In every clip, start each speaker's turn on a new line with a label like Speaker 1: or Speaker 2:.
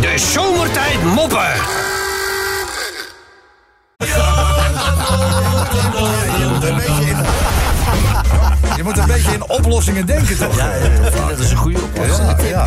Speaker 1: De zomertijd moppen.
Speaker 2: Je moet een beetje in oplossingen denken, toch? Ja,
Speaker 3: Dat is een goede oplossing.
Speaker 2: ja.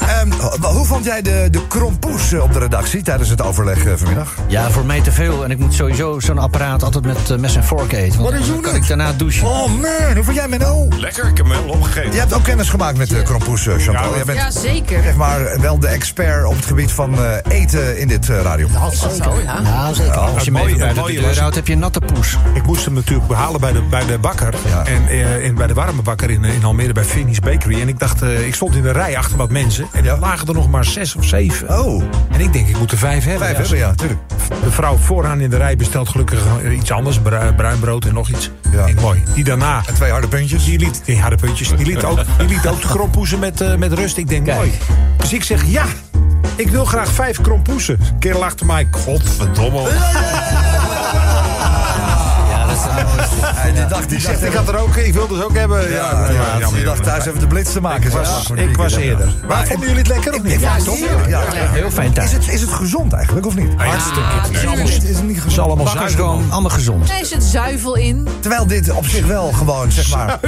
Speaker 2: Ehm, w- hoe vond jij de, de krompoes eh, op de redactie tijdens het overleg eh, vanmiddag?
Speaker 3: Ja, voor mij te veel. En ik moet sowieso zo'n apparaat altijd met eh, mes en vork eten. Want
Speaker 2: Wat is
Speaker 3: dan
Speaker 2: hoe
Speaker 3: kan
Speaker 2: dat?
Speaker 3: ik daarna douchen.
Speaker 2: Oh man, hoe vond jij Menno?
Speaker 4: Lekker, ik heb hem helemaal opgegeten.
Speaker 2: Je hebt ook kennis gemaakt met de krompoes, eh, Chantal.
Speaker 4: Ja,
Speaker 2: Jij bent
Speaker 5: Ja, zeker.
Speaker 2: zeg maar wel de expert op het gebied van eh, eten in dit eh, radio.
Speaker 5: Zo, ja.
Speaker 3: Ja, zeker. Als je
Speaker 4: het
Speaker 3: hem
Speaker 4: mooie-
Speaker 3: even bij
Speaker 4: het
Speaker 3: de
Speaker 4: mooie
Speaker 3: deur
Speaker 4: was-
Speaker 3: houdt, heb je een natte poes.
Speaker 4: Ik moest hem natuurlijk behalen bij de, bij de bakker.
Speaker 2: Ja.
Speaker 4: En eh, in, bij de warme bakker in, in Almere bij Finney's Bakery. En ik dacht, eh, ik stond in de rij achter wat mensen. En er lagen er nog maar zes of zeven.
Speaker 2: Oh,
Speaker 4: En ik denk, ik moet er vijf hebben.
Speaker 2: vijf
Speaker 4: Ja,
Speaker 2: hebben, ja, natuurlijk.
Speaker 4: De vrouw vooraan in de rij bestelt gelukkig eh, iets anders. Bruin, bruin brood en nog iets.
Speaker 2: Ja.
Speaker 4: Ik denk, mooi. Die daarna,
Speaker 2: En twee harde puntjes.
Speaker 4: die liet, die harde puntjes, die liet ook, die liet ook de krompoezen met, eh, met rust. Ik denk,
Speaker 3: Kijk.
Speaker 4: mooi. Dus ik zeg, ja, ik wil graag vijf krompoezen. Kerel achter mij, godverdomme.
Speaker 3: Ja, dat is
Speaker 2: Hij die dacht, die dacht,
Speaker 4: Ik had er ook, ik wilde ze ook hebben. Ja,
Speaker 2: ja, ja, die dacht thuis even de blits te maken. zeg maar, voor de
Speaker 4: Ik was
Speaker 2: weekend.
Speaker 4: eerder.
Speaker 2: Maar vonden jullie het lekker of niet?
Speaker 4: Ja,
Speaker 2: toch?
Speaker 4: zeker.
Speaker 2: Ja.
Speaker 3: heel fijn
Speaker 2: Is
Speaker 3: thuis.
Speaker 2: het, is het gezond eigenlijk of niet?
Speaker 4: Hartstikke
Speaker 2: Is het, is het niet gezond?
Speaker 4: allemaal
Speaker 3: Bakkers gewoon, allemaal gezond.
Speaker 5: Er zit zuivel in.
Speaker 2: Terwijl dit op zich wel gewoon, zeg maar,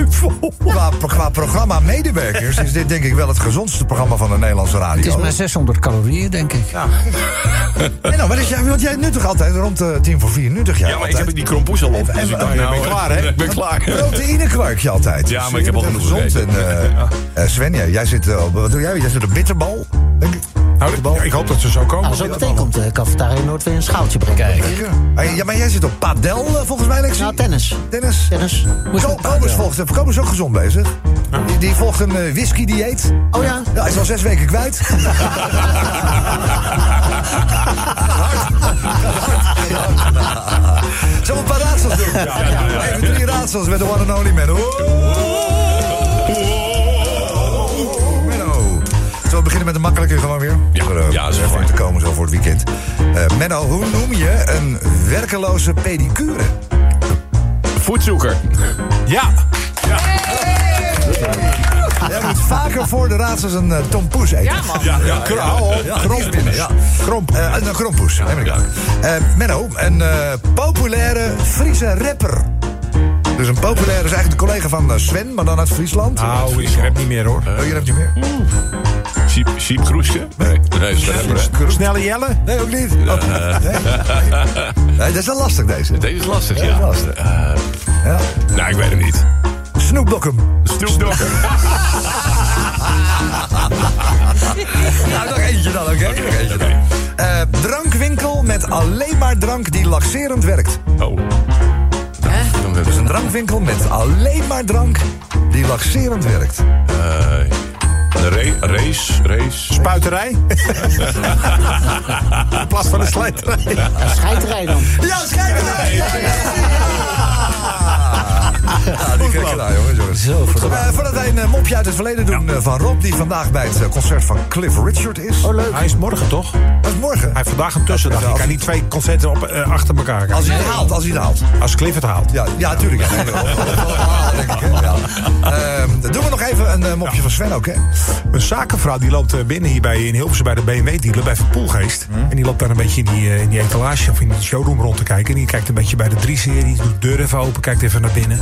Speaker 2: qua, qua programma medewerkers... is dit denk ik wel het gezondste programma van de Nederlandse radio.
Speaker 3: Het is maar 600 calorieën, denk ik.
Speaker 2: En nou, wat is jij, want jij nuttig altijd rond eh, tien voor vier, nuttig jij
Speaker 6: Ja, maar ik
Speaker 2: altijd.
Speaker 6: heb die krompoes al op. Dus ik dacht, nou,
Speaker 4: ben ik klaar, hè?
Speaker 6: Ik ben klaar.
Speaker 2: Proteïne kruik je altijd.
Speaker 6: Ja,
Speaker 2: Dus
Speaker 6: maar ik heb
Speaker 2: je
Speaker 6: al
Speaker 2: bent
Speaker 6: genoeg
Speaker 2: gezond. En,
Speaker 6: gegeten.
Speaker 2: eh, eh, Sven, jij, jij zit eh, op, wat doe jij? Jij zit op bitterbal, denk ik.
Speaker 4: Nou, ik hoop dat ze zo komen.
Speaker 7: Als zo meteen komt de cafetaria Noord weer een schaaltje brengen.
Speaker 3: Kijk,
Speaker 2: Eh, Ja, maar jij zit op padel eh, volgens mij, Lexi.
Speaker 7: Nou, tennis.
Speaker 2: Tennis.
Speaker 7: Tennis.
Speaker 3: Moest
Speaker 2: Ko-
Speaker 3: met paard
Speaker 2: Kobus
Speaker 3: wel.
Speaker 2: volgt, eh, Kobus is ook gezond bezig. Die, die volgt een eh, whisky-dieet.
Speaker 7: Ah. Oh ja.
Speaker 2: Ja, hij is al zes weken kwijt. Zullen we een paar raadsels doen? Even drie raadsels met de one and only man. Menno. Zullen we beginnen met een makkelijke gewoon weer?
Speaker 6: Ja,
Speaker 2: Om er, eh,
Speaker 6: ja, is
Speaker 2: even
Speaker 6: fijn.
Speaker 2: in te komen zo voor het weekend. Eh, Menno, hoe noem je een werkeloze pedicure?
Speaker 6: Voetzoeker.
Speaker 4: Ja,
Speaker 2: Jij moet vaker voor de raadsels een eh, tompoes eten.
Speaker 5: Ja, man.
Speaker 6: Ja, ja,
Speaker 2: Ja, kromp binnen, ja. Kromp. Eh, een krompoes, neem ik aan. Eh, Menno, een eh, populaire Friese rapper. Dus een populaire is eigenlijk de collega van eh, Sven, maar dan uit Friesland.
Speaker 4: nou, ik heb niet meer hoor.
Speaker 2: Oh, je hebt niet meer.
Speaker 6: Siep, Siep Kroeske? Nee. Nee, dat is wel hebben, hè.
Speaker 4: Snelle Jelle?
Speaker 2: Nee, ook niet. Oh, nee. Nee, dat is wel lastig, deze.
Speaker 6: Deze is lastig,
Speaker 2: Dat is
Speaker 6: ja.
Speaker 2: lastig. Ja.
Speaker 6: Nou, ik weet het niet.
Speaker 2: Snoop Dokkum.
Speaker 6: Snoep Dogg.
Speaker 2: Nou, nog eentje dan, oké? Nog eentje dan. Eh, drankwinkel met alleen maar drank die laxerend werkt.
Speaker 6: Oh. Dan hebben
Speaker 2: Dus
Speaker 6: ze
Speaker 2: een drankwinkel met alleen maar drank die laxerend werkt.
Speaker 6: een ra- race, race.
Speaker 4: Spuiterij? In plaats van een slijterij.
Speaker 7: Ja, scheiterij dan.
Speaker 2: Ja, schijt erbij! Ja, ja, ja. Ja, die krijg je daar, jongens. jongens.
Speaker 3: Zo,
Speaker 2: Goed,
Speaker 3: verdomme.
Speaker 2: eh, voordat wij een eh, mopje uit het verleden doen eh, van Rob... die vandaag bij het eh, concert van Cliff Richard is.
Speaker 4: Oh, leuk. Hij is morgen toch?
Speaker 2: Dat is morgen.
Speaker 4: Hij heeft vandaag een tussendag. Je kan niet twee concerten op, eh, achter elkaar kijken.
Speaker 2: Als hij het haalt, als hij het haalt.
Speaker 4: Als Cliff het haalt.
Speaker 2: Ja, ja tuurlijk. Ja, nee, wel- wel- wel- wel- denk ik, hè. Ja. Ehm, dan doen we nog even een eh, mopje van Sven ook, hè?
Speaker 4: Een zakenvrouw die loopt eh, binnen hier bij, in Hilversum bij de BMW-dealer bij Verpoelgeest.
Speaker 2: Mhm.
Speaker 4: En die loopt daar een beetje in die, eh, in die etalage of in die showroom rond te kijken. En die kijkt een beetje bij de 3-serie, doet de deur even open, kijkt even naar binnen.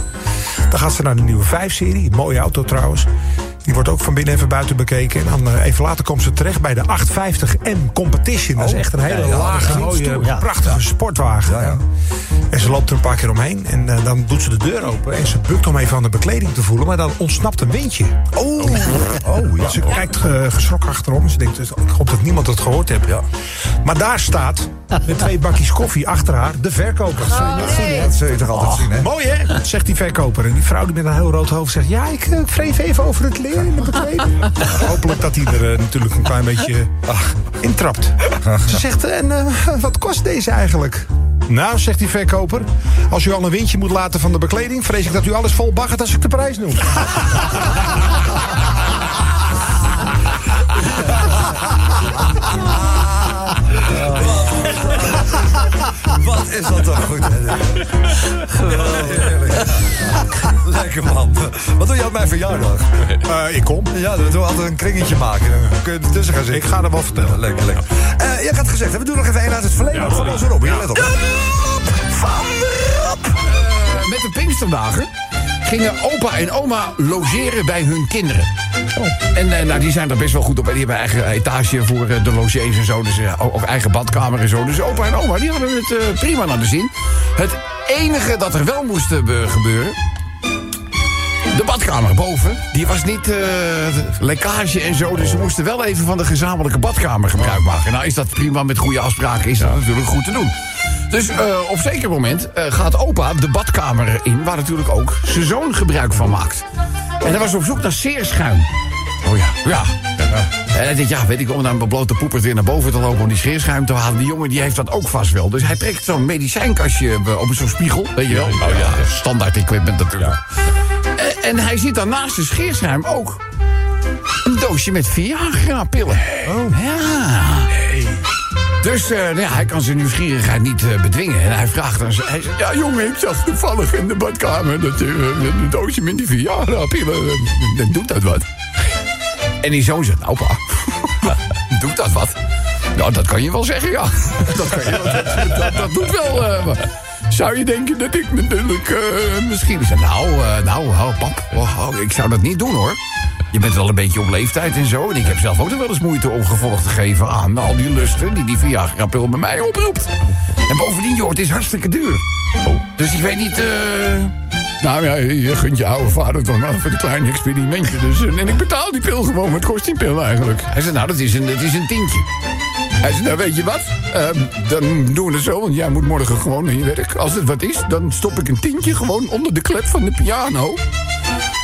Speaker 4: Dan gaat ze naar de nieuwe 5-serie, een mooie auto trouwens. Die wordt ook van binnen en van buiten bekeken. En dan eh, even later komt ze terecht bij de 850M Competition. Dat is
Speaker 2: Oh,
Speaker 4: echt een hele
Speaker 2: ja, ja,
Speaker 4: lage,
Speaker 2: dat is
Speaker 4: mooie,
Speaker 7: stoer, ja.
Speaker 4: prachtige sportwagen.
Speaker 2: Ja, ja.
Speaker 4: En ze loopt er een paar keer omheen. En eh, dan doet ze de deur open. En ze bukt om even aan de bekleding te voelen. Maar dan ontsnapt een windje.
Speaker 2: Oh, oh ja.
Speaker 4: Ze kijkt eh, geschrokken achterom. Ze denkt, ik hoop dat niemand het gehoord heeft.
Speaker 2: Ja.
Speaker 4: Maar daar staat, met twee bakjes koffie achter haar, de verkoper.
Speaker 2: Dat zul je toch altijd zien, hè?
Speaker 4: Mooi hè, zegt die verkoper. En die vrouw die met een heel rood hoofd zegt... ja, ik eh, wreef even over het leer in de bekleding. Hopelijk dat hij er eh, natuurlijk een klein beetje ah, intrapt. Ze zegt, en eh, wat kost deze eigenlijk? Nou, zegt die verkoper, als u al een windje moet laten van de bekleding... vrees ik dat u alles vol baggert als ik de prijs noem.
Speaker 2: Wat is dat toch goed? Geweldig. Lekker man. Wat doe je op mijn verjaardag?
Speaker 4: Eh, eh, ik kom.
Speaker 2: Ja, dan doen we altijd een kringetje maken. Dan kun je er tussen gaan zitten.
Speaker 4: Ik ga er wel vertellen.
Speaker 2: Lekker, lekker. Eh, je had het gezegd, hè? we doen nog even één uit het verleden.
Speaker 6: Ja,
Speaker 2: van
Speaker 6: sorry.
Speaker 2: onze Rob, je
Speaker 6: Ja.
Speaker 2: let op. van
Speaker 1: Eh, Met de Pinksterdagen gingen opa en oma logeren bij hun kinderen.
Speaker 6: Oh.
Speaker 1: En eh, nou, die zijn er best wel goed op. En die hebben eigen etage voor eh, de logiers en zo. Dus, eh, o- of eigen badkamer en zo. Dus opa en oma die hadden het eh, prima naar de zin. Het enige dat er wel moest eh, be- gebeuren... De badkamer boven, die was niet eh, lekkage en zo. Dus ze moesten wel even van de gezamenlijke badkamer gebruik maken. Nou is dat prima, met goede afspraken is dat natuurlijk goed te doen. Dus eh, op zeker moment eh, gaat opa de badkamer in... waar natuurlijk ook zijn zoon gebruik van maakt. En hij was op zoek naar scheerschuim. Oh ja. Ja. En hij denkt, ja, weet ik, om dan mijn blote poepers weer naar boven te lopen... om die scheerschuim te halen. Die jongen die heeft dat ook vast wel. Dus hij trekt zo'n medicijnkastje eh, op zo'n spiegel, weet je wel. Oh ja, standaard equipment natuurlijk. En- Eh, En hij ziet dan naast de scheerschuim ook een doosje met Viagra-pillen. Oh. Ja. Dus eh, nou ja, hij kan zijn nieuwsgierigheid niet eh, bedwingen. En hij vraagt dan... Hij zegt, ja jongen, ik zag toevallig in de badkamer... dat eh, een doosje met die Viagra-pillen... eh, dan doet dat wat. En die zoon zegt, nou pa, doet dat wat? Nou, dat kan je wel zeggen, ja. Dat, kan je, wel- dat, dat, dat doet wel... eh, maar zou je denken dat ik natuurlijk eh, misschien... Zeg, nou, eh, nou, hou, pap, oh, hou, ik zou dat niet doen, hoor. Je bent wel een beetje op leeftijd en zo. En ik heb zelf ook nog wel eens moeite om gevolg te geven aan al die lusten... die die Viagra-pil bij mij oproept. En bovendien, joh, het is hartstikke duur. Dus ik weet niet... eh, nou ja, je gunt je oude vader toch maar voor een klein experimentje. Dus, eh, en ik betaal die pil gewoon, maar het kost die pil eigenlijk. Hij zei, nou, dat is een, dat is een tientje. Hij zei, nou weet je wat, Ehm, dan doen we het zo, want jij moet morgen gewoon naar je werk. Als het wat is, dan stop ik een tientje gewoon onder de klep van de piano.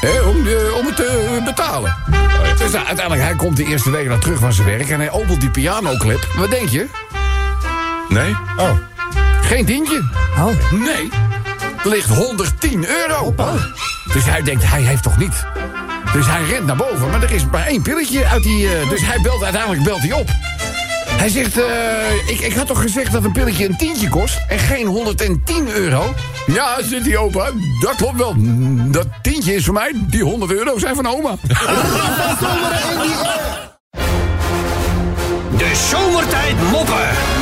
Speaker 1: Hè, om, de- om het te betalen. Dus nou, uiteindelijk, hij komt de eerste week naar terug van zijn werk... en hij opent die pianoklep. Wat denk je? Oh.
Speaker 6: Nee?
Speaker 1: Geen tientje.
Speaker 7: Oh.
Speaker 1: Nee. Er ligt 110 euro. Dus hij denkt, hij heeft toch niet. Dus hij rent naar boven, maar er is maar één pilletje uit die... eh, dus hij belt, uiteindelijk belt hij op. Hij zegt, eh, ik, ik had toch gezegd dat een pilletje een tientje kost en geen 110 euro? Ja, zit die opa, dat klopt wel. Dat tientje is voor mij, die 100 euro zijn van oma.
Speaker 8: De zomertijd moppen.